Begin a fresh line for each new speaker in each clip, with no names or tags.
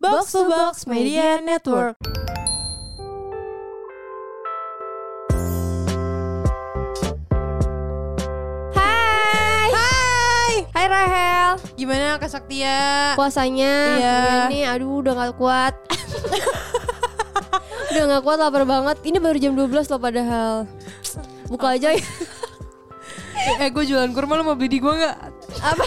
Box to Box Media Network.
Hai,
Hai,
hai Rahel.
gimana Kak Saktia?
Puasanya
Iya.
ini aduh udah gak kuat. udah gak kuat lapar banget. Ini baru jam 12 loh padahal. Buka aja ya.
eh gue jualan kurma lo mau beli di gue nggak?
apa?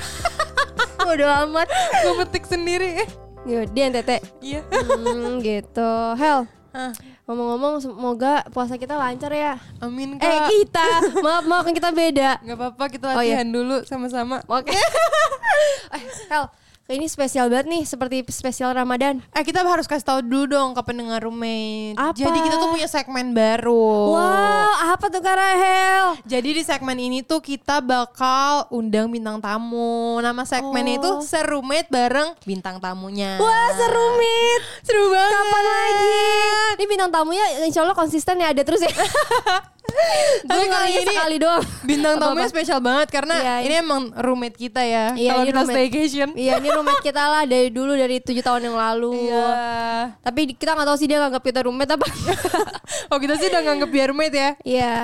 Udah amat.
Gue petik sendiri.
Yuk, dia tete.
Iya.
Hmm, gitu. Hel,
Hah,
ngomong-ngomong semoga puasa kita lancar ya.
Amin
Eh
kak.
kita, maaf maaf kan kita beda.
Gak apa-apa kita
Oh, iya.
latihan dulu sama-sama.
Oke. eh, Hel, ini spesial banget nih seperti spesial Ramadan.
Eh kita harus kasih tahu dulu dong ke pendengar roommate.
Apa?
Jadi kita tuh punya segmen baru.
Wow, apa tuh Kak Rahel?
Jadi di segmen ini tuh kita bakal undang bintang tamu. Nama segmennya
Oh.
itu Serumit bareng bintang tamunya.
Wah, seru mit.
Seru banget.
Kapan lagi? Ini bintang tamunya insya Allah konsisten ya ada terus ya. Gue
Tapi kali
kali
ini-
sekali doang.
Bintang tamunya
Apa-apa.
spesial banget karena
Iya,
ini emang roommate kita ya.
Iya,
Kalau
ini
kita
roommate.
staycation.
Iya, ini roommate kita lah dari dulu dari tujuh tahun yang lalu.
Iya.
Tapi di- kita nggak tahu sih dia nganggap kita roommate apa.
Oh kita sih udah nganggep dia roommate ya.
Iya.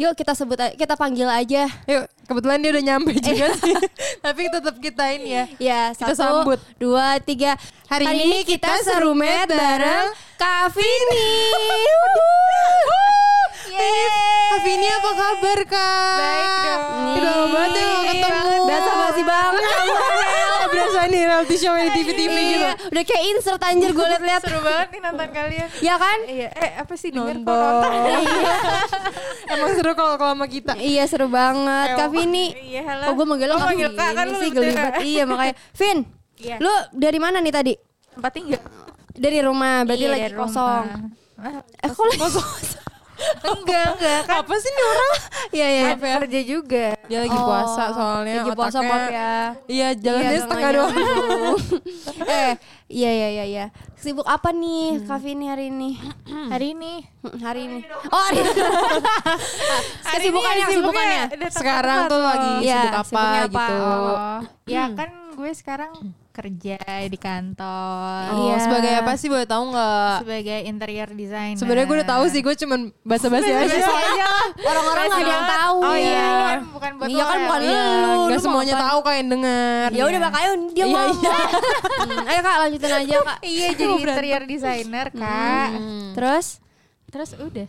Yuk kita sebut a- kita panggil aja.
Yuk, kebetulan dia udah nyampe
Iya.
juga sih. Tapi tetap kita ini ya.
Ya,
Kita
satu,
sambut.
dua, tiga.
Hari ini kita serumet bareng
Kak Vini. Yeay.
Tapi ini apa kabar kak?
Baik dong.
Nih. Udah lama banget ya gak ketemu.
Iya. Biasa basi banget. kamu.
Berasa nih reality show yang di TV-TV gitu.
Iya, udah kayak insert anjir gue liat-liat.
Seru banget nih nonton kalian.
Ya kan?
Iya, eh apa sih denger kok nonton?
Nonton. Emang seru kalau kalau sama kita.
Iya seru banget. Kak Vini.
Iya, halo.
Kok gue manggil lo
Oh,
Kak
manggil Kak,
Vini
kan lu
sih
betul,
gelibat.
Kak.
Iya makanya. Vin,
Iya.
lu dari mana nih tadi?
Tempat tinggal.
Dari rumah, berarti
Iya,
lagi
dari
kosong.
rumah. Ah,
Eh kok lagi kosong?
enggak, enggak. Kan
Apa sih nih orang?
Iya, iya.
ada kerja juga. Oh,
Dia lagi Oh, puasa soalnya
Lagi puasa
otaknya-
maaf ya.
Iya, jalannya
Iya,
setengah
tengahnya.
doang.
eh, iya iya iya iya. Sibuk apa nih Kak Vini hari ini?
Hari ini.
Hmm, hari ini. Oh, hari ini.
Hari
Kesibukannya,
ini sibuknya
kesibukannya.
udah tempat
ya, Sekarang
tempat
tuh
loh.
lagi
Iya,
sibuk apa
sibuknya apa?
gitu.
Oh, ya
Hmm.
kan gue sekarang kerja di kantor
Oh,
Iya.
sebagai apa sih boleh tahu nggak?
sebagai interior designer. Iya,
Sebenarnya gue udah tahu sih, gue cuman basa-basi aja.
Iya. Orang-orang nggak ada yang tahu.
Oh iya,
ya.
ini kan bukan buat
Iya,
lo
kan
ya.
bukan
Iya,
Lu- lu
nggak
mau
semuanya
apa?
tahu kayak yang dengar.
Ya udah makanya dia
Iya,
ngomong.
iya.
Hmm, ayo Kak lanjutin aja Kak.
Iya, jadi interior designer, Kak.
Terus
Terus udah.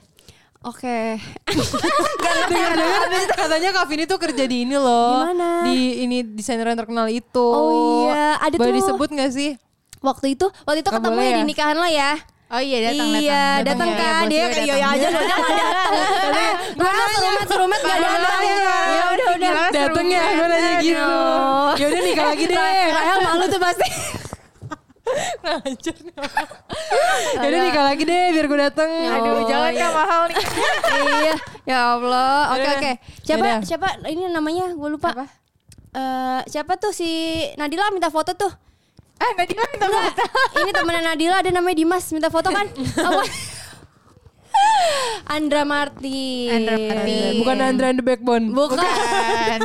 oke.
dengar dengar katanya Kak Vini tuh kerja di ini loh.
Di mana?
Di ini desainer yang terkenal itu.
Oh iya, ada
Boleh
tuh.
disebut nggak sih?
Waktu itu waktu itu
Nggak
ketemu
boleh
ya di
ya?
nikahan lo ya.
Oh iya, datang
iya, datang
datang
ya,
kan
bos
dia
gue
kayak
datang.
iya aja dia enggak datang. Eh, Padahal serumet serumet enggak datang. Ya udah udah.
Gila, seru
Dateng ya, gue nanya
banget.
gitu.
Aduh.
Ya udah nikah lagi deh.
Eh, Rahel malu tuh pasti.
Nah, anjir. Ya udah nikah lagi deh, biar gue dateng.
Aduh,
Oh,
jangan
iya.
kak mahal nih.
iya, ya Allah. Oke
Yaudah.
oke. Siapa
Yaudah.
siapa ini namanya gue lupa.
Apa?
Eh, siapa tuh si Nadila minta foto tuh?
Ah, Nadila minta
Enggak,
foto.
ini temennya Nadila ada namanya Dimas minta foto kan? Apa? Andra Marti.
Andra Marti.
Bukan Andra and the Backbone.
Bukan.
Bukan.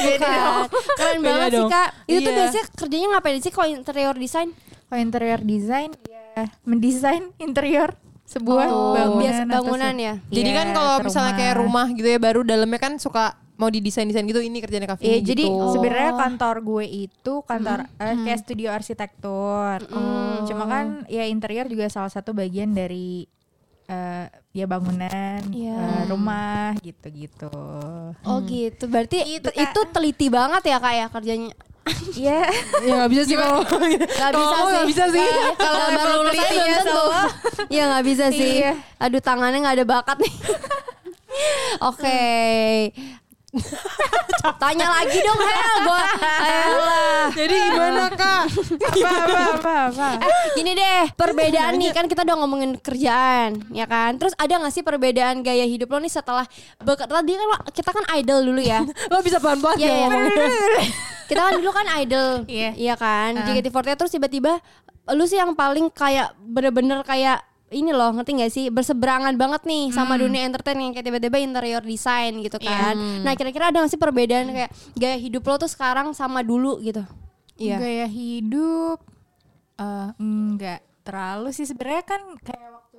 Beda
Bukan.
dong.
Keren
Iya Beda
banget sih
dong.
kak. Itu tuh
Iya.
biasanya kerjanya ngapain sih kalau interior design?
Kalau interior design, ya mendesain interior sebuah
Oh,
bangunan.
biasa
atau
bangunan
se-
ya?
Jadi
Iya,
kan kalau
ke
misalnya kayak rumah gitu ya baru dalamnya kan suka mau didesain-desain gitu ini kerjanya Kak Vini
Iya, jadi
gitu.
sebenarnya kantor gue itu kantor eh, kayak studio arsitektur. Cuma kan ya interior juga salah satu bagian dari eh, ya bangunan,
Iya.
eh, rumah gitu-gitu.
Oh
Hmm.
gitu. Berarti itu,
Kak.
itu teliti banget ya kak ya kerjanya.
Iya.
ya nggak bisa sih kalau
Gak
kalau
bisa
ngomong
sih.
nggak bisa sih.
Iya, Kalau baru lulus aja belum tentu. Iya nggak bisa sih.
Iya.
Aduh tangannya nggak ada bakat nih. Oke.
Hmm.
Tanya lagi dong Hel, gua Ayolah.
Jadi gimana Kak?
apa apa apa apa.
Eh, gini deh, perbedaan nih kan kita udah ngomongin kerjaan, ya kan? Terus ada nggak sih perbedaan gaya hidup lo nih setelah bekerja tadi kan lo- kita kan idol dulu ya.
Lo bisa pelan-pelan
Iya,
ya
iya.
ngomongnya.
kita kan dulu kan idol
Iya.
iya kan JKT48 terus tiba-tiba lu sih yang paling kayak bener-bener kayak ini loh ngerti gak sih berseberangan banget nih sama dunia entertain yang kayak tiba-tiba interior design gitu kan nah kira-kira ada gak sih perbedaan kayak gaya hidup lo tuh sekarang sama dulu gitu
Iya.
Gaya hidup eh, enggak terlalu sih sebenarnya kan kayak waktu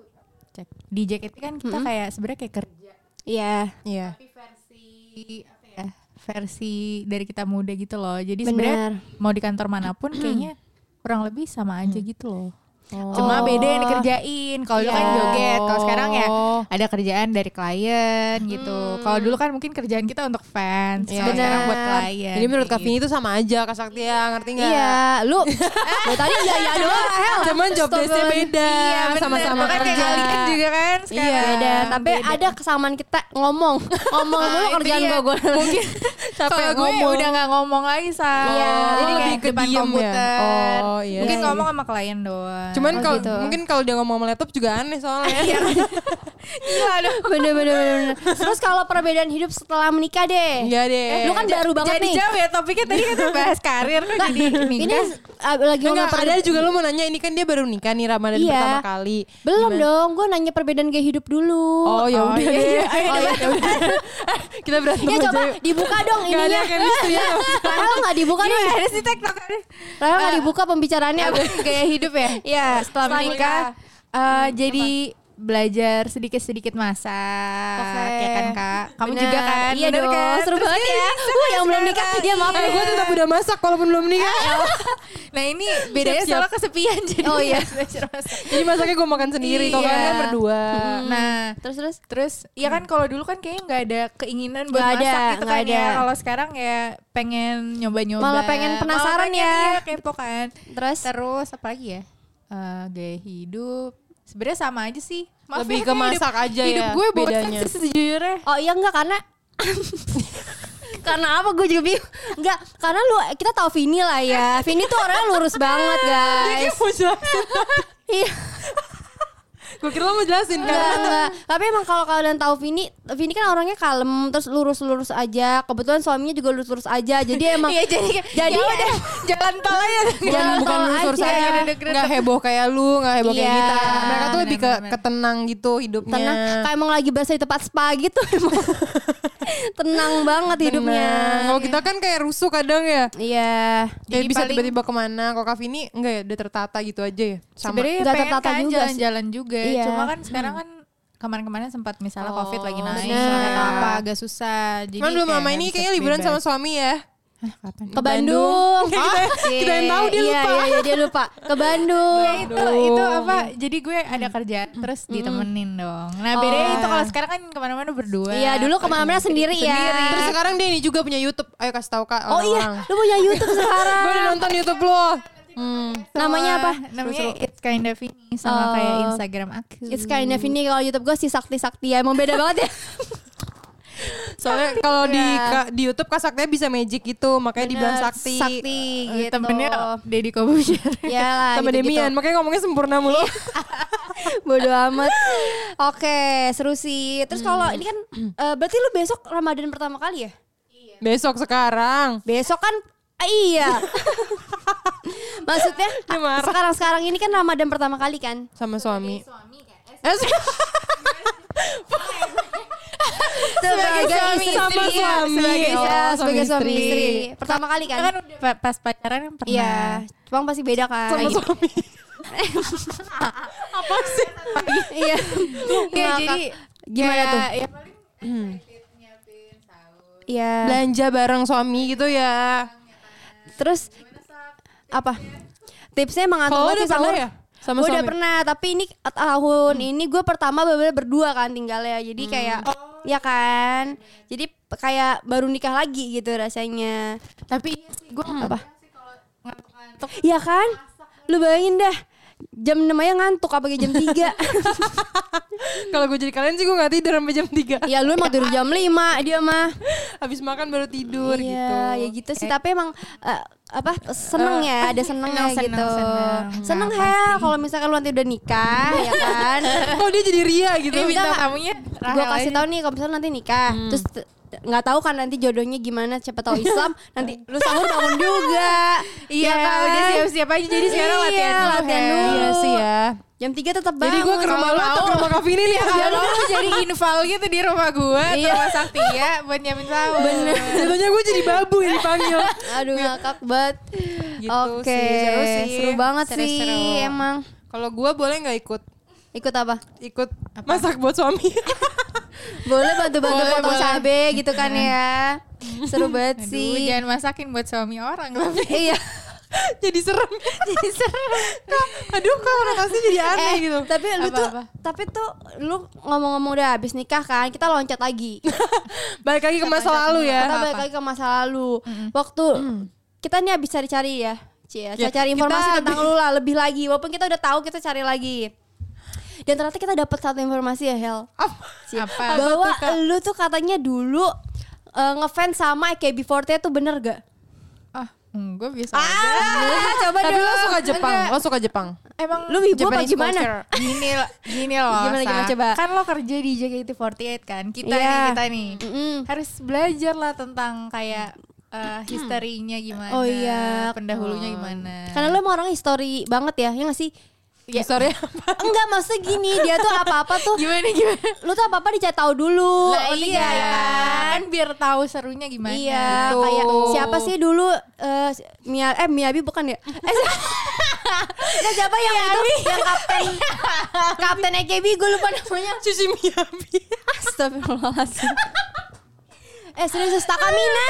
cek di JKT kan kita kayak sebenarnya kayak kerja
Iya.
Iya.
tapi versi apa ya versi dari kita muda gitu loh jadi
Benar.
sebenarnya mau di kantor manapun kayaknya kurang lebih sama aja gitu loh cuma
Mm. Oh.
beda yang dikerjain kalau dulu kan
Iya.
joget kalau sekarang ya
Oh.
ada kerjaan dari klien gitu kalau dulu kan mungkin kerjaan kita untuk fans
Iya.
kalau sekarang
Mm.
buat
Benar.
klien
Jadi menurut Kak
gitu.
Vini itu sama aja Kak Saktia, ngerti nggak?
Iya, lu dari tadi iya iya doang. Hel.
Eh, Cuman job
Stop
desk-nya
banget.
beda,
Iya, bener.
sama-sama
Makanya
kerja.
kayak Alika juga kan
Iya,
sekarang.
beda. Tapi ada kesamaan kita ngomong. Ngomong
Nah,
dulu
itu
kerjaan
dia.
gue gue. Mungkin
Capek
Kalau gue
ngomong.
udah nggak ngomong lagi sa
Iya.
Jadi
Oh,
kayak
lebih ke
depan
diem ya?
komputer
Oh, iya.
mungkin
Iya,
ngomong sama klien doang
Cuman
Oh,
kalau
gitu.
mungkin kalau dia ngomong sama laptop juga aneh soalnya.
Iya. Gila, Iya, aduh.
bener bener bener. bener. Terus kalau perbedaan hidup setelah menikah deh.
Iya deh.
Eh,
Lu kan baru banget
jadi
nih. Nah,
jauh ya topiknya tadi kita bahas karir kok jadi
Ini
nikah
ah, lagi ngomong
Enggak, ada
perbedaan.
juga lu mau nanya ini kan dia baru nikah nih Ramadan
Iya.
pertama kali.
Belum dong, gue nanya perbedaan gaya hidup dulu.
Oh, ya udah
iya,
deh.
iya.
Oh, ya udah. Kita berantem
Ya
aja
coba
yuk.
dibuka dong
Nggak ada
ininya.
gitu
chemistry ya.
Rahel nggak dibuka nih.
gimana sih tiktok
Rahel nggak dibuka pembicaraannya.
gaya hidup ya iya Ah. setelah menikah eh, jadi belajar sedikit-sedikit masak ya kan kak kamu
Bener.
juga kan
Iya
bener
dong,
kan?
seru
Terus
banget
dia
ya.
bisa
Uh, yang belum
sekarang. Iya.
nikah dia maaf
Eh, gue tetap udah masak walaupun belum nikah.
nah ini bedanya
Siap-siap.
soalnya kesepian jadi
Oh, iya.
belajar masak
Jadi masaknya gue makan sendiri. Kalau kalian kan
Iya.
berdua.
nah
Terus terus.
Terus ya kan kalau dulu kan kayaknya nggak ada keinginan
Mm.
buat
Nggak ada,
masak gitu
nggak
kan ya.
ada.
Kalau sekarang ya pengen nyoba-nyoba.
Malah pengen penasaran
pengen,
ya.
iya, kepo kan.
Terus?
Terus apa lagi ya? Eh, gaya hidup. Sebenarnya sama aja sih. Maaf
Lebih
ya,
ke
kayak
masak
hidup,
aja
hidup
ya
gue bosan
bedanya.
sih sejujurnya.
Oh iya enggak karena karena apa gue juga bingung enggak karena lu kita tahu Vini lah ya Vini tuh orangnya lurus banget guys
Mau jelasin.
iya
Gue kira lo mau jelasin kan.
enggak enggak tapi emang kalau kalian tahu Vini Vini kan orangnya kalem terus lurus-lurus aja kebetulan suaminya juga lurus-lurus aja jadi emang
Iya jadi
jadi
ya udah, jalan tol aja.
bukan
Jalan
bukan
tol
lurus
aja.
aja nggak heboh kayak lu nggak heboh kayak
Iya.
kita mereka tuh lebih ke
Bener-bener.
ketenang gitu hidupnya
tenang
Iya.
kayak emang lagi berasa di tempat spa gitu emang tenang banget hidupnya
Tenang. kalau kita kan kayak rusuh kadang ya
iya
kayak
Jadi
bisa
paling-
tiba-tiba kemana kalau Kak ini enggak ya udah tertata gitu aja ya sama
Sebenarnya
Nggak
pengen
tertata
kan
juga sih.
jalan-jalan juga.
Iya.
Cuma kan sekarang kan kemarin-kemarin sempat misalnya
Oh,
covid lagi naik
bener.
atau apa agak susah. Jadi
Cuman belum
kayak
lama
nggak
ini
bisa
kayaknya liburan
bebas.
sama suami ya
Hah, kapan?
ke Bandung, Ah,
Kita- kita yang tahu, dia
iya,
lupa.
iya, iya, dia lupa ke Bandung
Nah, itu itu apa? Jadi gue ada
Hmm.
kerjaan terus ditemenin dong. Nah bedanya itu kalau sekarang kan kemana-mana berdua.
Oh. Iya dulu kemana-mana sendiri, ya.
Iya. terus sekarang dia ini juga punya YouTube ayo kasih tahu Kak
oh iya,
orang-orang.
lu punya YouTube sekarang.
gue udah nonton YouTube lo hmm.
Namanya apa?
Namanya It's Kinda Vini sama
Oh. Iya,
kayak Instagram aku.
It's kinda Vini kalau YouTube gue si Sakti Sakti ya. Emang beda banget ya.
soalnya kalau di
Iya.
Kak- di YouTube Kak Saktia bisa magic gitu makanya dibilang sakti
Sakti
Eh,
gitu.
Temennya Deddy Kobusier.
ya lah,
sama
gitu-gitu.
Demian makanya ngomongnya sempurna mulu
Bodo amat. Oke, seru sih. Terus kalau
Hmm.
ini kan eh, berarti lu besok Ramadan pertama kali ya?
besok sekarang
Besok kan ah, iya. Maksudnya
Dia marah.
sekarang-sekarang ini kan Ramadan pertama kali kan?
Ah, sama suami. Eh,
Sebagai,
suami
istri.
sama suami.
Sebagai,
Oh,
ya,
suami
sebagai suami
istri.
istri. Pertama kali kan?
kan udah pa- pas pacaran kan pernah.
Iya, Bang pasti beda kan.
sama suami.
Iya.
Iya, jadi
gimana
kayak-
tuh?
ya,
Iya.
Belanja bareng suami gitu ya.
Terus apa? Tipsnya
Kalau
mengantuk
udah
sih sahur.
pernah ya? Sama
Gua udah
suami?
pernah, tapi ini tahun ini gue pertama bener berdua kan tinggalnya. Jadi kayak ya kan. Jadi p- kayak baru nikah lagi gitu rasanya.
Tapi iya sih gue
Apa?
ngantuk-ngantuk
Iya kan? Lu bayangin dah. Jam 6 aja ngantuk apalagi jam 3
Kalau gue jadi kalian sih gue gak tidur sampai jam 3.
Ya lu emang tidur jam 5 dia mah
Habis makan baru tidur gitu.
Iya, ya gitu sih. Tapi emang eh, apa seneng ya, ada senengnya
seneng,
gitu.
seneng.
Seneng,
Nah,
Hel kalau misalkan lu nanti udah nikah ya kan.
Oh dia jadi ria gitu.
Ini bintang
nggak?
tamunya
Gue
Rahel
kasih
aja.
tahu nih kalau misalkan nanti nikah, terus t- t- nggak tahu kan nanti jodohnya gimana siapa tahu Islam nanti lu sahur bangun juga
Iya,
ya kan?
udah siap-siap aja. Jadi sekarang
Iya,
latihan dulu.
latihan
Hel.
dulu.
Iya sih ya.
ya.
Jam 3 tetap
Jadi
bangun.
gue ke rumah lu atau Iya, ke rumah Kak Vini lihat
Kalau
jalan.
lu jadi infal gitu di rumah gue, di
Iya.
rumah Saktia buat nyamin sahur.
Jatuhnya gue jadi babu yang dipanggil.
Aduh ngakak banget.
Iya. Gitu
Oke,
sih, seru
seru,
sih.
banget
Seru-seru.
sih emang.
Kalau gue boleh nggak ikut
Ikut apa?
ikut masak buat suami?
Boleh bantu-bantu
Boleh,
potong
boleh.
cabe gitu kan ya. Seru banget
Aduh,
sih.
jangan masakin buat suami orang tapi.
Iya.
jadi serem. jadi serem. Aduh kok konotasi jadi aneh
Eh,
gitu.
tapi lu tuh
Apa-apa?
tapi tuh lu ngomong-ngomong udah habis nikah kan, kita loncat lagi.
Balik lagi ke masa lalu ya. Mm.
kita
apa-apa.
balik lagi ke masa lalu. Waktu kita nih habis cari-cari ya, Cia,
Ya,
cari
kita
informasi
habis-
tentang lu lah lebih lagi. Walaupun kita udah tahu kita cari lagi. Dan ternyata kita dapat satu informasi ya Hel,
Ah,
Cia,
Apa?
bahwa
Apa tuh, Kak?
lu tuh katanya dulu eh, ngefans sama AKB48 tuh bener gak?
Ah, gue biasa aja.
Ah, coba
Tapi
dulu.
lo suka Jepang,
Enggak.
lo suka Jepang.
Emang
Lu wibu apa
Japanese
gimana?
culture.
gini lo- gini loh.
Gimana,
Sa.
gimana, coba?
Kan lo kerja di JKT48 kan. Kita
Iya.
nih, kita nih.
Mm-mm.
Harus belajar lah tentang kayak eh, historinya gimana.
Oh, iya.
Pendahulunya
Eh.
gimana.
Karena lu emang orang histori banget ya, ya gak sih?
Ya. Sorry.
Enggak, maksudnya gini, dia tuh apa-apa tuh,
gimana gimana?
lu tuh apa-apa dicari tahu dulu. ya
Lah
ngerti
iya
nggak
kan biar tahu serunya gimana.
Iya,
gitu.
kayak siapa sih dulu eh Mia eh Miyabi bukan ya? Eh, si- Nah, siapa yang itu yang kapten kapten AKB gue lupa namanya.
Cuci Miyabi.
Astagfirullahaladzim. eh serius Takamina.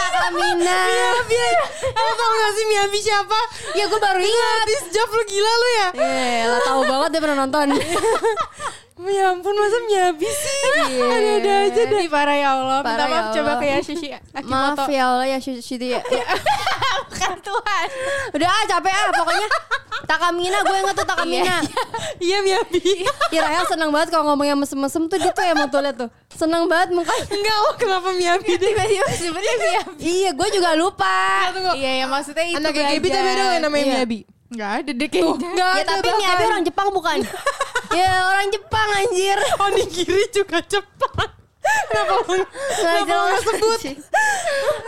Takamina.
Miyabi. Lo tau gak sih Miyabi siapa?
Ya gue baru ingat.
Artis job lu gila lu ya.
Eh, lah tahu banget dia pernah nonton.
Ya ampun masa Miyabi sih. Ada-ada
Iya.
aja
Jadi
deh.
parah ya Allah. Minta
Parah ya
maaf coba
Allah.
kayak Shishi Akimoto.
Maaf ya Allah ya Siti ya.
Bukan Tuhan.
Udah ah, capek ah pokoknya. Takamina gue inget tuh Takamina.
Iya Miyabi.
Irael senang Ya, banget kalau ngomongnya mesem-mesem tuh gitu dia tuh emang tuh liat tuh. Senang banget mukanya.
Enggak lo kenapa Miyabi deh.
Tiba-tiba sebenarnya Miyabi.
Iya, gue juga lupa.
Tunggu.
Iya ya maksudnya itu
Anak KKB tapi ada gak namanya
Iya.
Miyabi?
Enggak ada deh kayaknya.
Enggak
Ya
ada
tapi
bahkan.
Miyabi orang Jepang bukan? ya orang Jepang anjir.
Onigiri Oh, juga Jepang. Kenapa lu?
Gak jelas
sebut?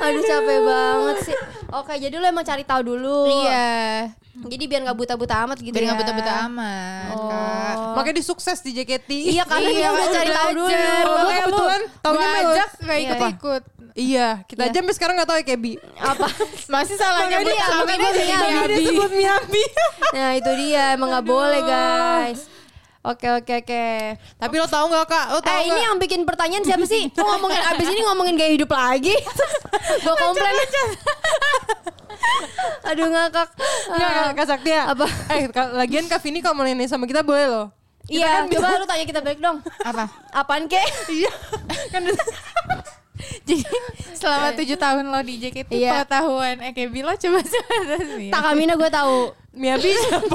Aduh capek banget sih. Oke, jadi lu emang cari tahu dulu.
Iya.
Jadi biar nggak buta-buta amat gitu
Biar
ya.
nggak buta-buta aman. Kak.
Makanya dia sukses di JKT.
Oh. Iya, karena dia udah cari tahu dulu.
Gue
Makanya lu-
kebetulan tahunnya
Gua
Melo.
ajak nggak
Iya.
ikut ikut.
Iya, kita aja sampai sekarang gak tahu ya Kebi.
Apa?
Masih salah
Makanya
nyebut
dia-
sama
makanya dia
dia.
bilang-
Makanya dia
Miyabi.
sebut Miyabi.
Nah, itu dia emang nggak boleh, guys. Oke, oke, oke.
Tapi lo tau gak kak? Lo tau
Eh,
gak?
ini yang bikin pertanyaan siapa sih? Kok ngomongin abis ini ngomongin gaya hidup lagi? Gue komplain. Aduh ngakak. Ah,
Enggak, Kak- Kak Saktia.
Apa?
Eh, Kak- lagian Kak Vini kalau mau nanya sama kita boleh loh.
Iya, coba lu tanya kita balik dong.
Apa?
Apaan kek?
Iya. kan
Jadi
eh,
selama tujuh tahun lo di JKT
Iya.
pengetahuan EKB lo coba sebentar sih.
Takamina gue tahu.
Miyabi siapa?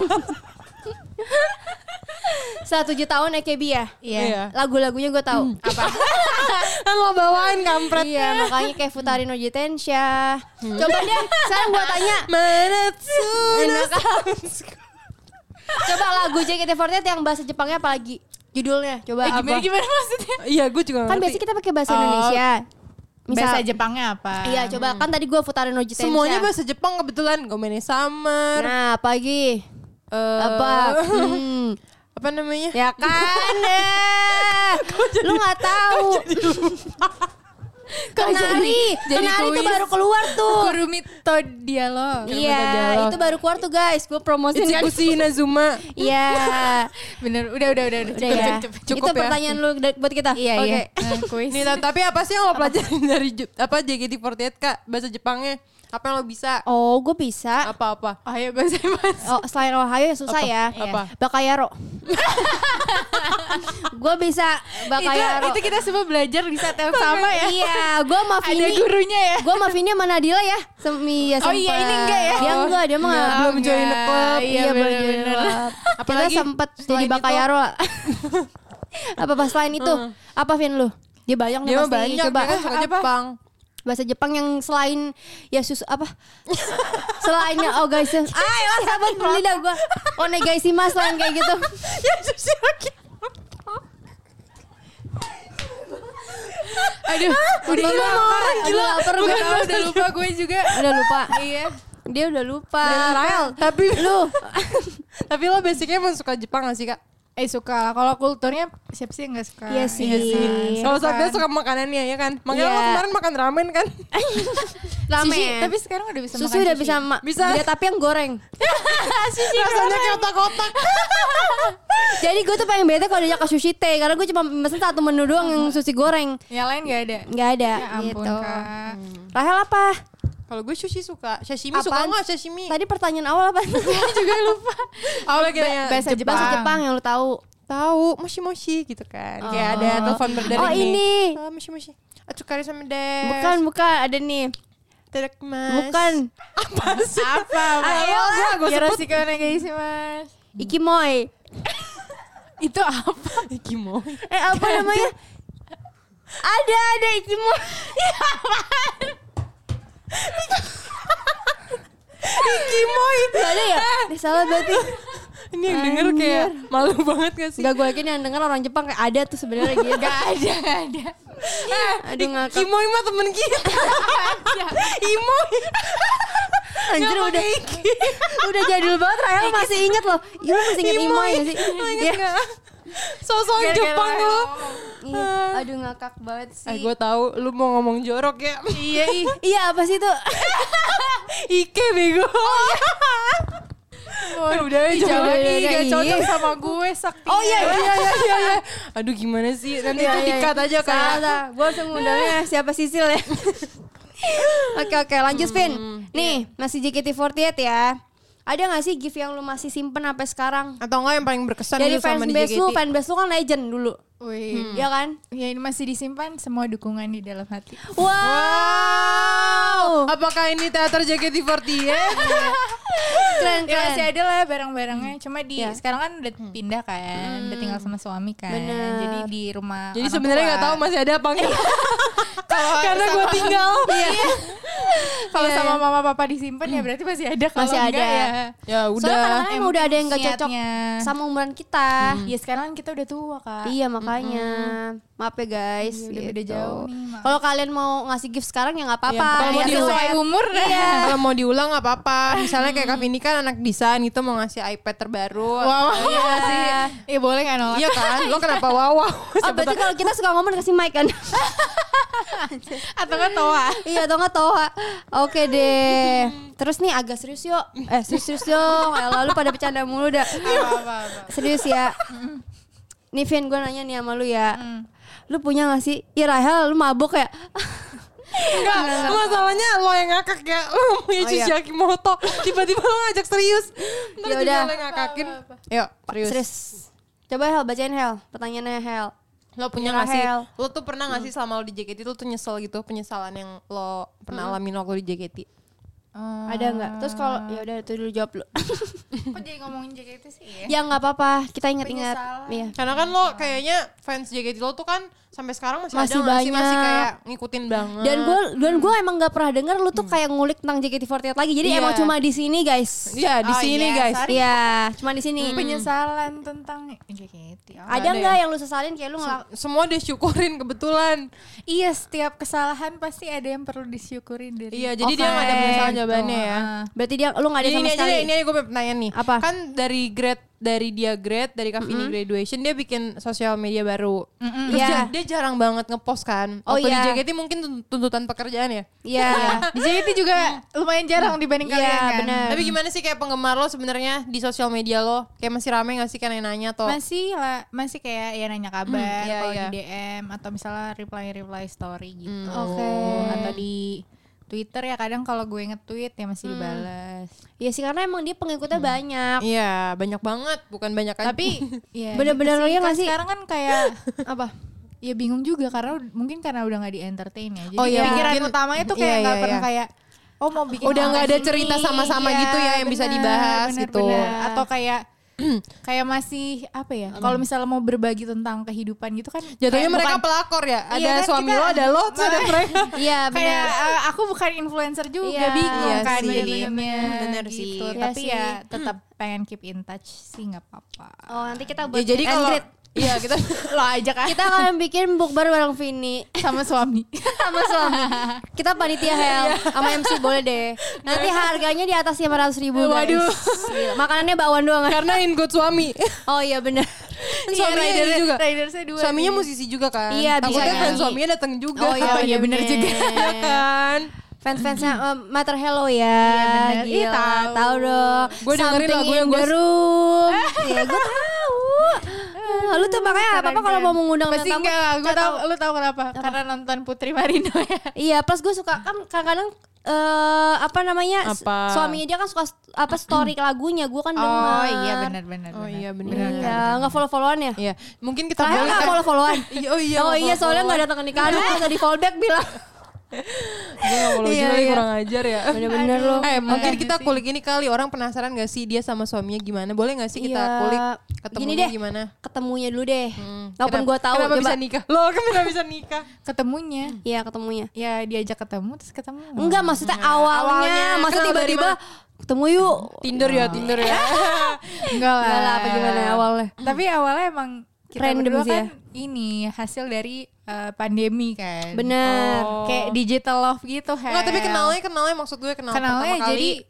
Setelah tujuh tahun EKB ya.
Iya.
Lagu-lagunya gue tahu.
Apa?
Kan lo bawain kampret. Hmm.
Iya, makanya kayak Futari no Jitensha. Coba deh, sekarang gue tanya.
Manatsuno
Enak. Coba lagu JKT48 yang bahasa Jepangnya apa lagi? Judulnya, coba
Eh,
apa?
gimana gimana maksudnya?
Iya, gue juga
Kan
ngerti.
biasanya kita pakai bahasa
Oh,
Indonesia. Misal,
Bahasa Jepangnya apa?
Iya, coba. Kan tadi gue Futari no Jitensha.
Semuanya bahasa Jepang kebetulan. Gomene Summer.
Nah, pagi.
eh,
Apa? Hmm.
Apa namanya?
Ya kan? eh. Lu nggak tahu. Kenari,
jadi
Kenari itu
kuis?
baru keluar tuh.
Kurumito
dialog.
dialog.
Iya, itu baru keluar tuh guys. Gue promosi kan.
Itsukushi Inazuma.
Iya.
Bener, udah udah udah udah
Udah ya.
cukup, cukup.
Cukup
itu
ya.
pertanyaan lu da- buat kita.
Iya
Oke.
iya. Nah, kuis.
Nih, ta- tapi apa sih yang lo pelajarin dari Ju- apa JKT48 Kak? Bahasa Jepangnya. Apa yang lo bisa?
Oh, gue bisa.
Apa-apa?
Ayo gue mas.
Oh, selain Ohio ya
Apa?
susah ya.
Apa?
Bakayaro. gue bisa
Itu,
bakayaro.
itu kita semua belajar di saat yang sama ya.
Iya, gue sama
Ada
Vini.
gurunya ya.
Gue sama Vini sama Nadila ya. Semi ya
Oh, iya, ini enggak ya?
Dia
Oh,
enggak, dia mah
enggak.
enggak.
Belum join the club.
Iya,
Iya
belum join the
bener-bener.
club. Kita
Apalagi
sempet jadi
selain itu?
bakayaro. lah. apa pas lain itu? Apa Vin lu? Dia banyak nih
Dia mah
pasti.
banyak,
Coba.
dia kan suka
Apa?
Jepang.
bahasa Jepang yang selain ya sus apa selain ya oh guys ya ah ya sahabat lidah gue oh guys mas selain kayak gitu
Ya, sushi lagi.
Aduh, udah
Gila,
hilang
orang
orang
gila.
gila.
Lapar
Bukan,
gue.
gua udah lupa gue juga.
udah lupa
Iya.
dia udah lupa
Rael, tapi
lu
Tapi lo basicnya emang suka Jepang gak sih kak?
Eh suka lah. Kalau kulturnya siapa sih yang nggak suka?
Iya sih.
Kalau
Seru kan?
Sabda suka makanannya ya kan? Makanya lo
Iya.
kemarin makan ramen kan?
Sushi,
Ramen.
tapi sekarang udah bisa
ya? susu
makan
udah
sushi.
bisa ma-
Bisa.
udah tapi yang goreng.
Rasanya kayak otak-otak.
Jadi gue tuh pengen bete kalau diajak ke sushi teh karena gue cuma pesen satu menu doang yang sushi goreng.
Yang lain nggak ada.
Nggak ada
Uh-huh. Ya ampun
gitu.
kak.
Rahel apa?
Kalau gue sushi suka. Sashimi suka
Apaan?
gak sashimi?
Tadi pertanyaan awal apa?
juga lupa. Oh, lagi nanya
bahasa Jepang.
Bahasa Jepang yang lu tahu.
tahu moshi moshi gitu kan. Kayak ada telepon berdering
Oh, ini.
Oh, moshi moshi. Atsukari sama des.
Bukan, bukan ada nih.
Tadakmas.
Bukan.
Apa sih? Ah,
Apa?
Ayo lah, gue sebut.
guys mas.
Ikimoi.
Itu apa?
Ikimoi.
Eh apa namanya? ada ada Ikimoi.
Ikimoi.
Gak ada ya? Eh, salah berarti.
Ini yang denger kayak malu banget gak sih?
Gak gue yakin yang denger orang Jepang kayak ada tuh sebenarnya gitu. Gak ada, gak ada. Aduh ngakak.
Ikimoi mah temen kita. Imoi.
Anjir
Nggak
udah
pakai iki.
udah jadul banget Rahel masih inget loh. Iya lu masih inget Imoi gak sih?
Lo inget
Iya.
nggak? Sosok
Gara-gara
Jepang lo.
Rahel ngomong.
Iya. Aduh ngakak banget sih.
Eh, gue tahu lu mau ngomong jorok ya.
Iya, ih. iya apa sih itu?
Ike bego. Ya udah ya,
Ih,
jangan
jangan,
Ih,
jangan,
gak
iya.
cocok.
sama gue sakti.
Oh iya iya iya iya. iya. Aduh gimana sih? Nanti Kan itu dikat aja
Iya,
ya.
Salah,
kayak.
salah. Gue langsung ngundangnya siapa Sisil ya. Oke oke
Hmm,
lanjut
iya.
Vin. Nih masih JKT48 ya. Ada gak sih gif yang lu masih simpen sampai sekarang?
Atau enggak yang paling berkesan lu
Dari
sama di
fanbase lu,
JKT?
fanbase lu kan legend dulu.
Wih.
Hmm.
Iya kan?
Ya ini masih disimpan semua dukungan di dalam hati.
Wow.
Apakah ini teater JKT48?
Keren
Ya masih
keren.
ada lah barang-barangnya. Cuma di
Iya.
sekarang kan udah pindah kan, udah tinggal sama suami kan.
Bener.
Jadi di rumah.
Jadi
orang
sebenarnya
tua.
nggak tahu masih ada apa enggak.
Kalau
Karena gue
sama-
tinggal. Iya.
Kalau
Iya.
sama mama papa disimpan ya berarti masih ada. Kalau
Masih ada.
enggak ya.
Ya
Soalnya
udah.
kadang-kadang emang udah ada yang gak cocok
niatnya.
sama umuran kita.
Hmm.
Ya sekarang kita udah tua kak.
Iya makanya. Maaf ya guys.
Iya,
udah beda
gitu.
jauh nih, maaf.
Kalau kalian mau ngasih gift sekarang ya nggak
Iya,
apa-apa.
kalau Iya, mau
Ya,
diulang.
sesuai
umur
Iya.
Kalau mau diulang nggak apa-apa. Misalnya kayak Kak Vini kan anak desain gitu mau ngasih iPad terbaru.
Wow,
Iya sih.
Iya boleh nggak nolak?
Iya kan? Lo kenapa wow wow?
Oh berarti kalau kita suka ngomong kasih mic kan?
Atau kan toa?
iya atau nggak toa. Oke deh. Terus nih agak serius yuk. Eh serius serius dong. Ya, lalu pada bercanda mulu dah.
Apa-apa.
Serius ya. Nih Vin gue nanya nih sama lu ya.
Hmm.
Lu punya gak sih? Ih Rahel lu mabuk ya?
Enggak, masalahnya lo yang ngakak ya. Lo ngomongnya
Oh, iya.
Shisaki Moto. Tiba-tiba lo ngajak serius. Ntar
Ya
juga
udah.
lo yang ngakakin. Yuk, serius.
serius. Coba Hel bacain Hel. Pertanyaannya Hel.
Lo punya
Punya
nggak sih?
Rahel.
Lo tuh pernah nggak sih selama lo di JKT lo tuh nyesel gitu penyesalan yang lo pernah alamin waktu di JKT?
Eh,
Ada nggak? Terus kalau ya udah itu dulu jawab lu.
Kok jadi ngomongin JKT sih ya?
ya nggak apa-apa. Kita ingat-ingat.
Penyesalan.
Iya.
Karena kan lo kayaknya fans JKT lo tuh kan sampai sekarang masih,
Masih
ada nggak sih? masih
banyak.
kayak ngikutin banget.
Dan gue dan gue emang nggak pernah dengar lu tuh kayak ngulik tentang JKT48 lagi. Jadi
Hmm. Iya.
emang cuma di sini guys.
Iya, di
Oh,
sini
iya,
guys.
sorry.
Iya, cuma di sini.
Penyesalan tentang JKT. Oh.
Ada
ada
nggak
ya?
yang lu sesalin kayak lu ngelak?
Semua disyukurin kebetulan.
Iya setiap kesalahan pasti ada yang perlu disyukurin dari.
Iya, jadi dia nggak ada
Oke.
penyesalan jawabannya ya.
Berarti dia lu nggak ada
Ini,
sama
ini aja
sekali.
deh, Iya, ini aja gue punya pertanyaan nih.
Apa?
Kan dari grade dari dia grade dari Kavini graduation dia bikin sosial media baru. Terus
Iya.
ja- dia jarang banget ngepost kan.
Oh,
Waktu
iya.
di JKT mungkin tun- tuntutan pekerjaan ya.
Iya.
Di JKT juga lumayan jarang dibanding
Iya,
kalian kan.
benar.
Tapi gimana sih kayak penggemar lo sebenarnya di sosial media lo? Kayak masih rame gak sih kan yang nanya atau
Masih lah, masih kayak ya nanya kabar
Iya,
kalau
iya. Hmm,
di DM atau misalnya reply reply story gitu.
Oke.
Atau di Twitter ya kadang kalau gue nge-tweet ya
Hmm.
masih dibalas.
Iya sih karena emang dia pengikutnya banyak.
Iya, banyak banget, bukan banyak kan. aja.
Tapi ya,
Bener-bener
gitu
lo ya
Kan
nggak sih?
Sekarang kan kayak
Apa?
ya bingung juga karena ud- mungkin karena udah nggak di entertain ya. Jadi
Oh, iya,
pikiran
mungkin-
utamanya tuh
iya,
kayak
iya,
nggak
iya.
pernah kayak oh mau bikin
Udah nggak ada
konten
cerita
ini.
sama-sama
Iya,
gitu ya yang bisa
bener,
dibahas
bener,
gitu.
bener. Atau kayak kayak masih apa ya? Kalau misalnya mau berbagi tentang kehidupan gitu kan
jatuhnya
kayak
mereka
bukan-
pelakor ya. Ada
Iya, kan
suami
kita-
lo, ada lo, terus ada mereka.
Iya
kayak
benar.
eh, aku bukan influencer juga
Iya,
bingung
iya
kan
sih.
jadinya
Bener
gitu.
sih.
Iya
tapi
sih.
ya tetap pengen keep in touch sih nggak apa-apa
Oh nanti kita buat
Ya, jadi
meet and
kalau
greet.
Iya kita
Lo ajak
kan?
ah.
Kita akan bikin bukber bareng Vini
sama suami.
sama suami. Kita
Iya.
panitia hell sama MC boleh deh. Nanti harganya di atas 500 ribu guys.
Waduh.
Gila. Makanannya bakwan doang. kan?
karena in good suami.
Oh iya bener.
Iya, Suaminya ini juga.
Ridersnya dua.
Suaminya
nih.
musisi juga kan.
Iya,
Takutnya
bisa
fans
nyanyi.
suaminya datang juga.
Oh iya,
ya
bener juga.
kan.
Fans-fansnya um, Mater Hello ya.
Iya,
bener. Ih,
Gila,
tahu.
tahu dong.
Gua dengerin
Something
lagu yang
in the
gua-
room. Iya, gue tahu. Ah, Lu tuh makanya apa apa
Keren,
kalau
keren.
mau mengundang
Pasti
tamu,
enggak, gue
nggak
tau, lu tau kenapa?
Oh,
Karena nonton Putri Marino ya
Iya, plus gue suka kan kadang-kadang eh, apa namanya s-
Apa?
suaminya dia kan suka st- apa story lagunya gue kan denger.
benar
Oh iya Oh, bener.
Iya, nggak follow followan ya?
Iya, mungkin kita
Terakhir
boleh
nggak
kan-
follow followan.
Iya, oh iya.
oh iya, soalnya nggak
ada
datang ke nikahan, lu kagak di follow back bilang.
follow
Iya,
juga lagi
iya.
kurang ajar ya.
Bener-bener lo.
Eh mungkin
Makanya
kita
sih.
kulik ini kali orang penasaran gak sih dia sama suaminya gimana? Boleh gak sih kita
Iya.
kulik
Gini
ketemunya
deh,
gimana?
ketemunya dulu deh.
Hmm,
Walaupun
kenapa-
gue tahu,
Kenapa
coba.
bisa nikah? Loh kenapa bisa nikah?
Ketemunya
Iya, ketemunya.
Ya diajak ketemu terus ketemu
Enggak, maksudnya awalnya,
Awalnya.
Kan
maksudnya
Kenal dari
tiba-tiba ketemu yuk.
Tinder ya, Tinder ya.
Enggak lah
Enggak lah, apa gimana ya awalnya?
Tapi awalnya emang kita
Random
berdua
sih
ya.
kan ini hasil dari eh, pandemi kan
Bener.
Oh.
Kayak digital love gitu kan
Enggak, tapi kenalnya kenalnya maksud gue kenal
Kenalnya
pertama kali.
jadi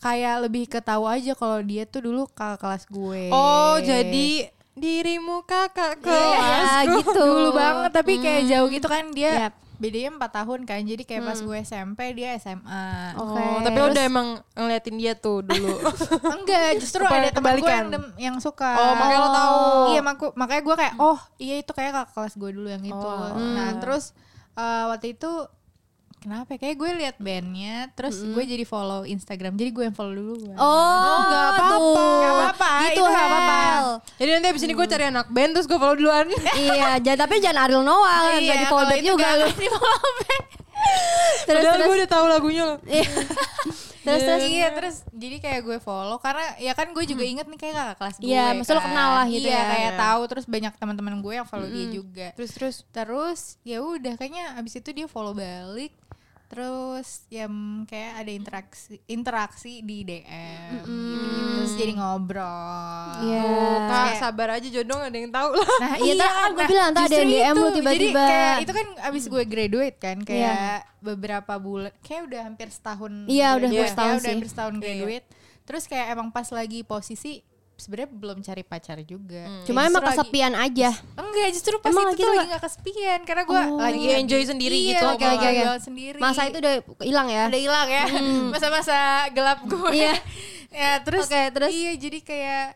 kayak lebih ketahu aja kalau dia tuh dulu kakak kelas gue
Oh, jadi dirimu kakak kelas.
Iya, gitu.
ya, dulu banget tapi kayak jauh gitu kan
Yap.
dia bedanya 4 tahun kan jadi kayak pas gue SMP dia SMA
Oke.
Oh, tapi lo udah emang ngeliatin dia tuh dulu.
enggak justru
Kepa-
ada teman gue
kebalikan.
yang, dem- yang suka
Oh, makanya lo tahu.
iya maku- makanya gue kayak oh iya itu kayak kakak kelas gue dulu yang itu
Oh.
nah terus eh, waktu itu kenapa ya? kayak gue lihat bandnya terus gue jadi follow Instagram jadi gue yang follow dulu
Oh,
nggak apa-apa.
tuh.
Nggak apa-apa,
Gitu
itu nggak
Hel.
apa-apa. jadi nanti abis ini gue cari anak band terus gue follow duluan.
iya, jangan tapi jangan Ariel Noah kan
Iya,
enggak di follow back juga lu. Terus
Padahal
terus.
gue udah tahu lagunya loh.
Iya. Terus terus. Hmm.
iya terus jadi kayak gue follow karena ya kan gue juga inget nih kayak kakak kelas gue
Iya, maksud lo
kan.
kenal lah gitu
Iya,
ya. Hmm.
kayak
Iya.
tahu terus banyak teman-teman gue yang follow dia juga
Terus terus.
terus ya udah kayaknya abis itu dia follow balik terus ya mm, kayak ada interaksi interaksi di DM gitu, terus jadi ngobrol
Iya.
Kak, sabar aja jodoh gak ada yang tahu lah.
nah
Iya, tadi kan gue bilang, tadi ada
justru
yang DM lu
itu.
tiba-tiba.
jadi kayak itu kan abis gue graduate kan kayak beberapa bulan kayak udah hampir setahun
Iya, udah hampir
graduate, ya,
setahun
udah
sih.
hampir setahun
Iya,
graduate terus kayak emang pas lagi posisi sebenarnya belum cari pacar juga
Hmm.
Cuma
Kayak
emang
justru lagi-
kesepian aja.
Enggak, justru pas
Emang
itu
gitu
tuh lagi
nggak? Oh.
gak kesepian karena gue lagi
Lagi enjoy sendiri
iya,
gitu.
Oke, oke, oke. sendiri.
Masa itu udah hilang ya?
udah hilang ya. Masa-masa gelap gue.
Iya.
ya, terus
Oke, terus?
iya jadi kayak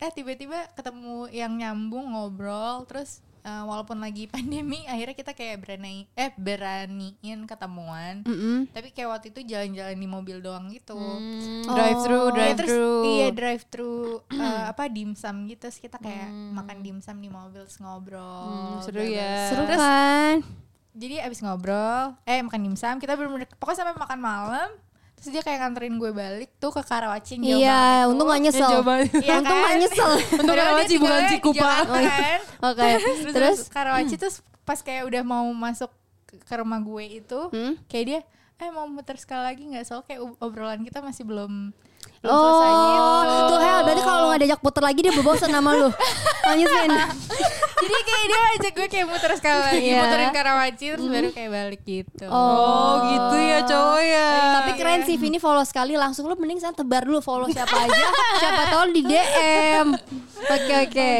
eh tiba-tiba ketemu yang nyambung ngobrol terus eh, walaupun lagi pandemi akhirnya kita kayak berani eh beraniin ketemuan.
Mm-mm.
Tapi kayak waktu itu jalan-jalan di mobil doang gitu.
Drive thru,
Oh.
drive
Iya, terus
thru.
iya drive thru eh, apa dimsum gitu terus kita kayak makan dimsum di mobil terus
Hmm,
ngobrol.
seru
bla, bla,
ya.
Hmm. Seru
Terus-
kan?
jadi abis ngobrol eh makan dimsum kita belum pokoknya sampai makan malam terus dia kayak nganterin gue balik tuh ke gitu. Karawacing jauh banget
Iya,
tuh.
untung gak
Ya,
nyesel.
jawabannya.
Iya
Untung
kan?
gak nyesel.
Untung
Padahal
Karawaci
dia
bukan
tinggalnya di
Cikupa.
Jakarta
Oh iya.
kan.
Oke.
terus,
Terus
terus Hmm. Karawaci terus pas kayak udah mau masuk ke ke rumah gue itu
Hmm?
kayak dia eh mau muter sekali lagi nggak soal kayak ob- obrolan kita masih belum belum selesai
Oh,
gitu.
tuh Hel, berarti kalau lu gak diajak puter lagi dia berbosan sama lu. Lanjut, Vin.
jadi kayak dia ajak gue kayak muter sekali lagi
Iya.
muterin Karawaci terus baru kayak balik gitu
Oh gitu ya cowok ya.
Tapi keren sih Vini follow sekali langsung lu mending sana tebar dulu follow siapa aja. siapa tahu di DM. Oke oke.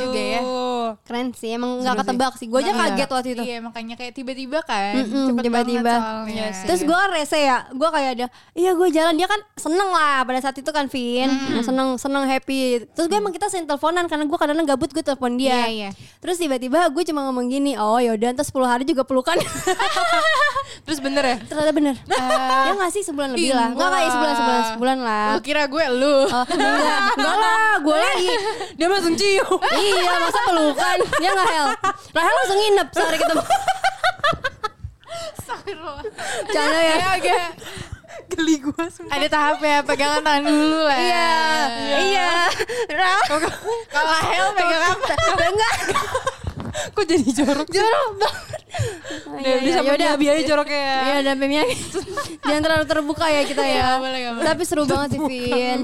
juga ya.
Tuh.
Keren sih emang nggak ketebak sih. Gue aja
Enggak.
kaget waktu itu.
Iya makanya kayak tiba-tiba kan.
Mm-mm,
cepet
tiba-tiba.
banget soalnya.
Iya sih.
Terus gue rese ya, gue kayak ada, iya gue jalan dia kan seneng lah pada saat itu kan Vin, seneng seneng happy. Terus gue emang kita sering teleponan karena gue kadang-kadang gabut gue telepon dia.
Mm. Iya, iya.
Terus tiba-tiba gue cuma ngomong gini, oh yaudah terus 10 hari juga pelukan.
Terus bener ya?
Ternyata bener. ya
Ah.
nggak sih sebulan lebih lah, nggak kayak sebulan sebulan sebulan lah.
Lu kira gue lu.
Oh, enggak, enggak lah, gue lagi
Dia langsung cium.
Iya masa pelukan Ya gak Hel Rahel langsung nginep sehari ketemu
Ah. Astagfirullah.
Canda ya
Ya agak
Geli gue semua.
ada tahap ya pegangan tangan dulu lah.
Iya Iya Rahel
Kalau hell pegang apa?
Enggak
Kok jadi jorok?
Jorok Iya, banget
Udah, udah
ya
sampai dia biarin joroknya ya.
Iya udah Bim, ya. Jangan terlalu terbuka ya kita ya
boleh, nggak
Tapi seru Iya banget sih Vin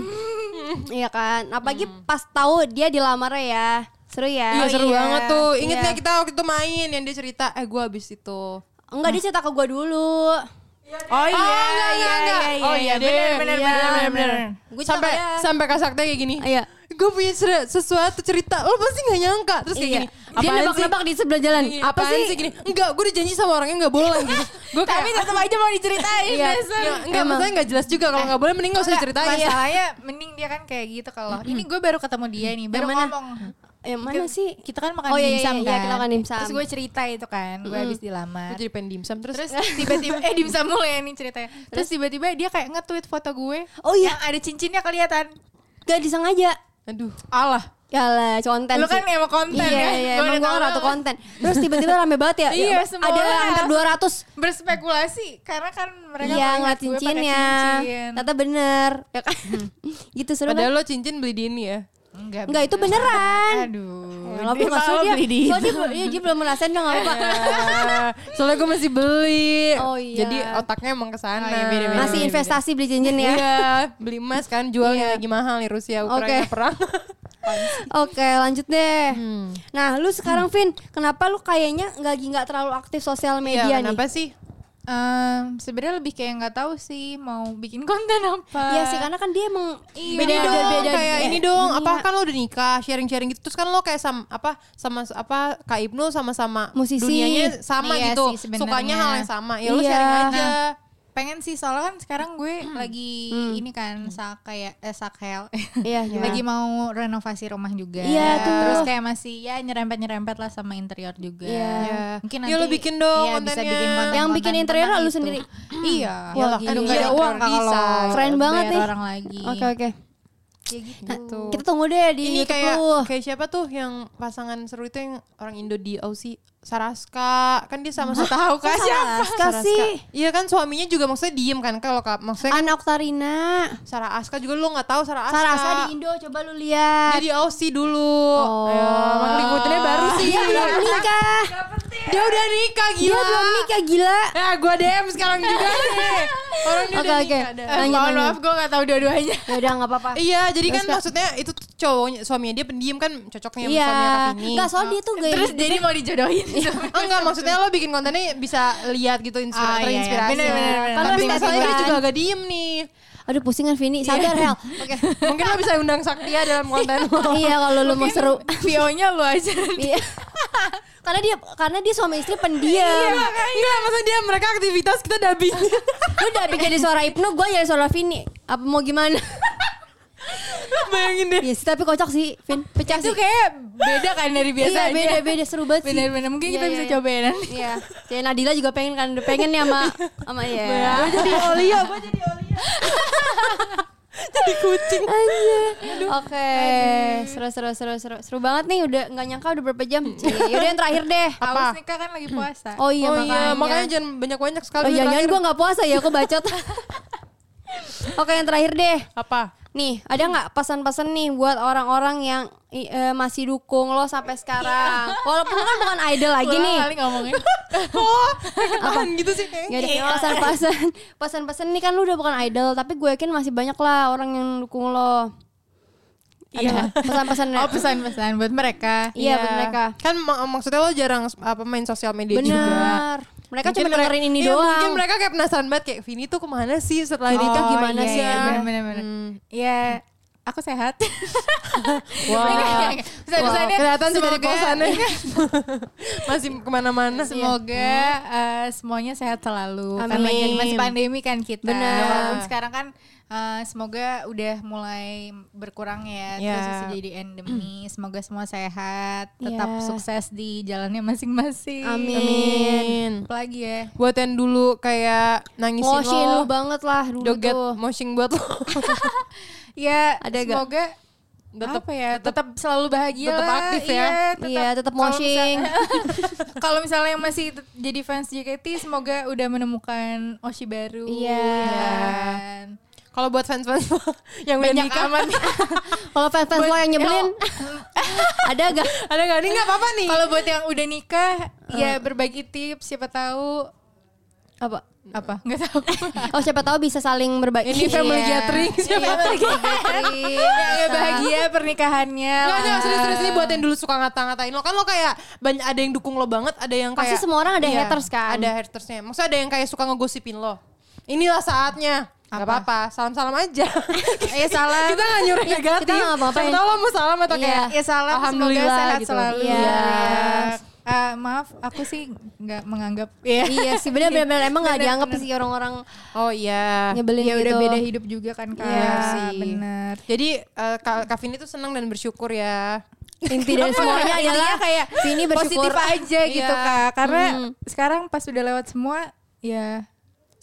Iya kan Apalagi pas tahu dia dilamarnya ya Seru ya.
Hmm. Iya
Oh
seru banget tuh. Ingat
Iya.
nggak kita waktu itu main yang dia cerita, eh gue abis itu.
Enggak dia cerita ke gua dulu.
Oh
enggak,
iya, iya,
enggak,
iya,
enggak.
iya,
Oh iya deh.
benar, benar,
Iya,
benar, benar,
benar.
benar.
Gua
sampai
cerita ke dia.
sampai kasaknya kayak gini.
Iya.
Gue punya ser- sesuatu cerita, lo pasti nggak nyangka. Terus kayak
Iya.
gini.
Dia
"Apaan sih?"
nebak-nebak di sebelah jalan.
Iya,
Apa
apaan
sih?
gini? Enggak, gue udah janji sama orangnya nggak boleh. gitu. Gue kayak
Tapi tetap aja mau diceritain.
Iya.
dasar.
Iya, enggak,
Emang.
maksudnya enggak jelas juga kalau enggak boleh mending enggak usah
Enggak,
diceritain.
Masalahnya mending dia kan kayak gitu kalau ini gue baru ketemu dia nih, baru
mana?
ngomong.
Eh mana
Kita-
sih?
Kita kan makan
Oh, iya, iya,
dimsum
iya,
kan.
kita makan dimsum.
Terus gue cerita itu kan, gue habis dilamar.
Gue jadi pengen dimsum terus.
Terus tiba-tiba eh dimsum mulu ya nih ceritanya. Terus tiba-tiba dia kayak nge-tweet foto gue.
Oh iya.
Yang ada cincinnya kelihatan.
Gak disengaja.
aduh.
Allah.
Yalah, konten
Lu
sih.
kan emang konten
iya,
ya.
Iya,
Gua
emang
udah
gue
tahu
ratu
banget.
konten. Terus tiba-tiba rame banget ya.
Iya,
Ya,
semua
Ada
orang.
hampir 200.
Berspekulasi karena kan mereka
iya,
melihat
ngeliat
gue pakai
cincinnya.
cincin.
Ternyata bener. Ya kan? gitu seru kan?
Padahal lo cincin beli di ini ya.
Enggak,
Enggak, itu beneran.
Aduh.
Ya, Lo nggak
Kalau
suruh dia.
beli di
Kalau dia, belum- iya, dia belum merasain dia nggak apa-apa.
Iya. Eh, Soalnya gue masih beli.
Oh, iya.
Jadi otaknya emang ke sana.
Oh, iya, beda-beda.
Masih investasi beli cincin ya.
Iya, beli emas kan jualnya
Iya.
lagi mahal nih Rusia Ukraina
Oke.
perang.
Oke lanjut deh. Nah lu sekarang Vin, kenapa lu kayaknya nggak lagi nggak terlalu aktif sosial media
Iya,
nih?
kenapa sih?
Em, sebenarnya lebih kayak nggak tahu sih mau bikin konten apa.
Iya sih karena kan dia emang
Iya, beda
beda,
dong
beda-
kayak
eh,
ini dong
dunia.
apa kan lo udah nikah sharing-sharing gitu terus kan lo kayak sama apa sama apa Kak Ibnu sama-sama
Musisi.
dunianya sama
Iya
gitu
sih, sebenarnya.
sukanya hal yang sama ya lo
Iya.
sharing aja
Nah, pengen sih soalnya kan sekarang gue lagi ini kan sak kayak eh, sakhel
Hmm. Iya, gimana?
lagi mau renovasi rumah juga
Iya, tuh.
terus kayak masih ya nyerempet nyerempet lah sama interior juga
Iya.
mungkin
Ya, lu bikin dong
iya, bisa
kontennya.
bikin konten
Yang bikin interior
tentang
lu
itu.
sendiri?
iya
Wah,
Yalah,
gila.
aduh nggak ada uang
Bisa.
kalau
Keren
bayar
banget nih.
orang lagi
Oke oke.
Ya gitu.
Nah,
Tuh.
kita tunggu deh di
ini
YouTube
Iya, kayak
lu.
kayak siapa tuh yang pasangan seru itu yang orang Indo di Aussie Saraska kan dia sama sama tahu kan siapa
Saraska sih? Ah.
iya kan suaminya juga maksudnya diem kan kalau ka- maksudnya
Ana Oktarina.
Sarah Aska juga lo nggak tahu Sarah Aska
Sarasa di Indo coba lu
dia
lihat.
di Aussie dulu
Oh.
Ayo, makanya ngikutinnya iya, baru sih Iya.
Dia Oh. Iya, belum nikah.
Dia udah nikah gila.
Dia belum nikah gila.
Ya gue DM sekarang juga nih. Orang dia
Oke
udah
oke.
nikah dah.
Eh,
Lanjut
mohon
lanjut.
maaf gue nggak tahu dua-duanya
Ya udah nggak apa-apa.
Iya, jadi kan maksudnya itu tuh cowoknya suaminya dia pendiam kan cocoknya sama
Iya.
suaminya Kartini.
Enggak soal dia tuh gaya
terus jadi mau dijodohin
Iya.
Ah, enggak maksudnya lo bikin kontennya bisa lihat gitu inspira
Ah, iya, iya.
terinspirasi.
Bener, bener, bener.
Tapi
Penting
masalahnya
sih,
dia
kan.
juga agak diem nih.
Aduh pusing kan Vini, sabar Hel.
Oke, mungkin lo bisa undang Saktia dalam konten lo.
iya kalau lu mau seru.
Vio-nya lu aja
Iya. karena dia karena dia suami istri
Iya,
pendiam.
enggak maksudnya dia mereka aktivitas kita dubbing.
Lu udah pikir jadi suara Ibnu, gue jadi suara Vini. Apa mau gimana?
Bayangin deh.
Iya sih, tapi kocok sih, Vin. Pecah sih.
itu kayak beda kan dari
Iya,
biasanya
beda-beda seru banget sih.
bener-bener mungkin
Iya,
kita
iya,
bisa
iya.
coba ya nanti
Iya. Jadi Nadila juga pengen kan, pengen nih sama sama ya.
Gue jadi Olia, gue jadi Olia. jadi kucing.
Oke, seru seru seru seru seru banget nih udah nggak nyangka udah berapa jam. Cie, Yaudah yang terakhir deh.
Awas nikah kan lagi puasa
Oh iya
oh
makanya.
iya, makanya jangan banyak-banyak sekali.
Oh
yang
jangan
terakhir.
gue nggak puasa ya, aku bacot. Oke yang terakhir deh.
apa?
Nih, ada nggak pesan-pesan nih buat orang-orang yang i- eh, masih dukung lo sampai sekarang? Walaupun lo kan bukan idol lagi
Ulang
nih.
kali ngomongnya
oh, ketahan gitu sih kayaknya.
Gak ada Iya pesan-pesan. Pesan-pesan nih kan lo udah bukan idol, tapi gue yakin masih banyak lah orang yang dukung lo.
Iya.
Ada nggak pesan-pesan.
oh pesan-pesan buat mereka
Iya, buat mereka.
Kan mak- maksudnya lo jarang s- apa main sosial media Iya juga.
Benar. Mereka
Mungkin
cuma
mereka-
dengerin ini
iya,
doang.
Mungkin mereka kayak penasaran banget kayak Vini tuh kemana sih setelah nikah
Oh,
gimana
iya,
sih? Hmm.
iya, bener-bener ya aku sehat Iya,
Wah.
Pesan-pesannya
Wow, kelihatan sih dari ya.
semoga-
kosannya. Masih kemana-mana.
Iya.
Semoga
Iya.
eh, semuanya sehat selalu.
Amin.
Karena lagi masih pandemi kan kita.
Benar.
Walaupun sekarang kan eh, semoga udah mulai berkurang
Ya.
ya. Terus bisa jadi endemi. Semoga semua sehat. Tetap
Iya.
Ya.
sukses di jalannya masing-masing.
Amin.
Apalagi ya.
Buat yang dulu kayak nangisin
Ngoshin
lo,
lu banget lah dulu
joget,
tuh.
moshing buat lo.
Ya
Ada gak?
semoga
Tetap-
apa ya tetap selalu bahagia
tetap
lah.
aktif ya.
Iya, tetap-
Iya, tetap
kalau
moshing.
misalnya- Kalau misalnya yang masih tet- jadi fans JKT semoga udah menemukan Oshi baru.
Iya.
Dan
Kalau buat fans-fans lo yang udah
Banyak
nikah, ya
aman.
Kalau fans-fans lo yang nyebelin, ada gak?
ada gak nih nggak apa-apa nih.
Eh. Kalau buat yang udah nikah, ya berbagi tips siapa tahu
Apa?
apa nggak tahu
Oh siapa tahu bisa saling berbagi.
Ini family
Iya.
gathering siapa yang lagi?
ya bahagia pernikahannya
Nggak,
lah. Iya.
nggak, serius-serius ini buat yang dulu suka ngata-ngatain lo kan lo kayak banyak ada yang dukung lo banget, ada yang kayak
Pasti semua orang ada
Iya,
haters kan.
Ada hatersnya. Maksudnya ada yang kayak suka ngegosipin lo. Inilah saatnya. Gak apa-apa, salam-salam aja.
ya salam
kita gak nyuruh
Iya,
negatif.
kita nggak apa-apain.
Siapa tahu lo mau salam atau
Iya.
kayak
ya salam semoga
Alhamdulillah
sehat
gitu.
selalu
Iya.
Ya. Eh, maaf aku sih nggak menganggap ya
iya sih benar-benar emang nggak dianggap sih orang-orang
Oh iya.
nyebelin gitu.
ya udah beda hidup juga kan kak
Iya sih.
bener
Jadi eh, Ka- Kak Vini tuh senang dan bersyukur ya.
Inti dari semuanya adalah
intinya kayak
Vini bersyukur.
Iya, positif aja gitu
Iya.
kak karena
Hmm.
sekarang pas udah lewat semua ya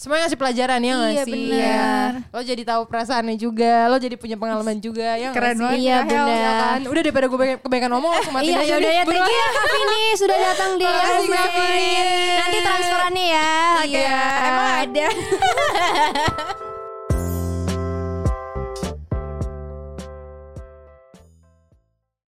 Semuanya ngasih pelajaran ya nggak
Iya,
sih?
benar.
Lo jadi tahu perasaannya juga, lo jadi punya pengalaman juga ya nggak
Keren
sih?
banget
Iya,
ya, Hel.
Ya
benar.
kan? Udah daripada gue banyak- kebanyakan ngomong langsung matiin
Iya
aja
ya udah
deh.
ya
Buruan.
thank you ya Kak Vini sudah datang di
Makasih,
RSUI.
Kak Vini.
Nanti transferannya ya.
Iya, emang ada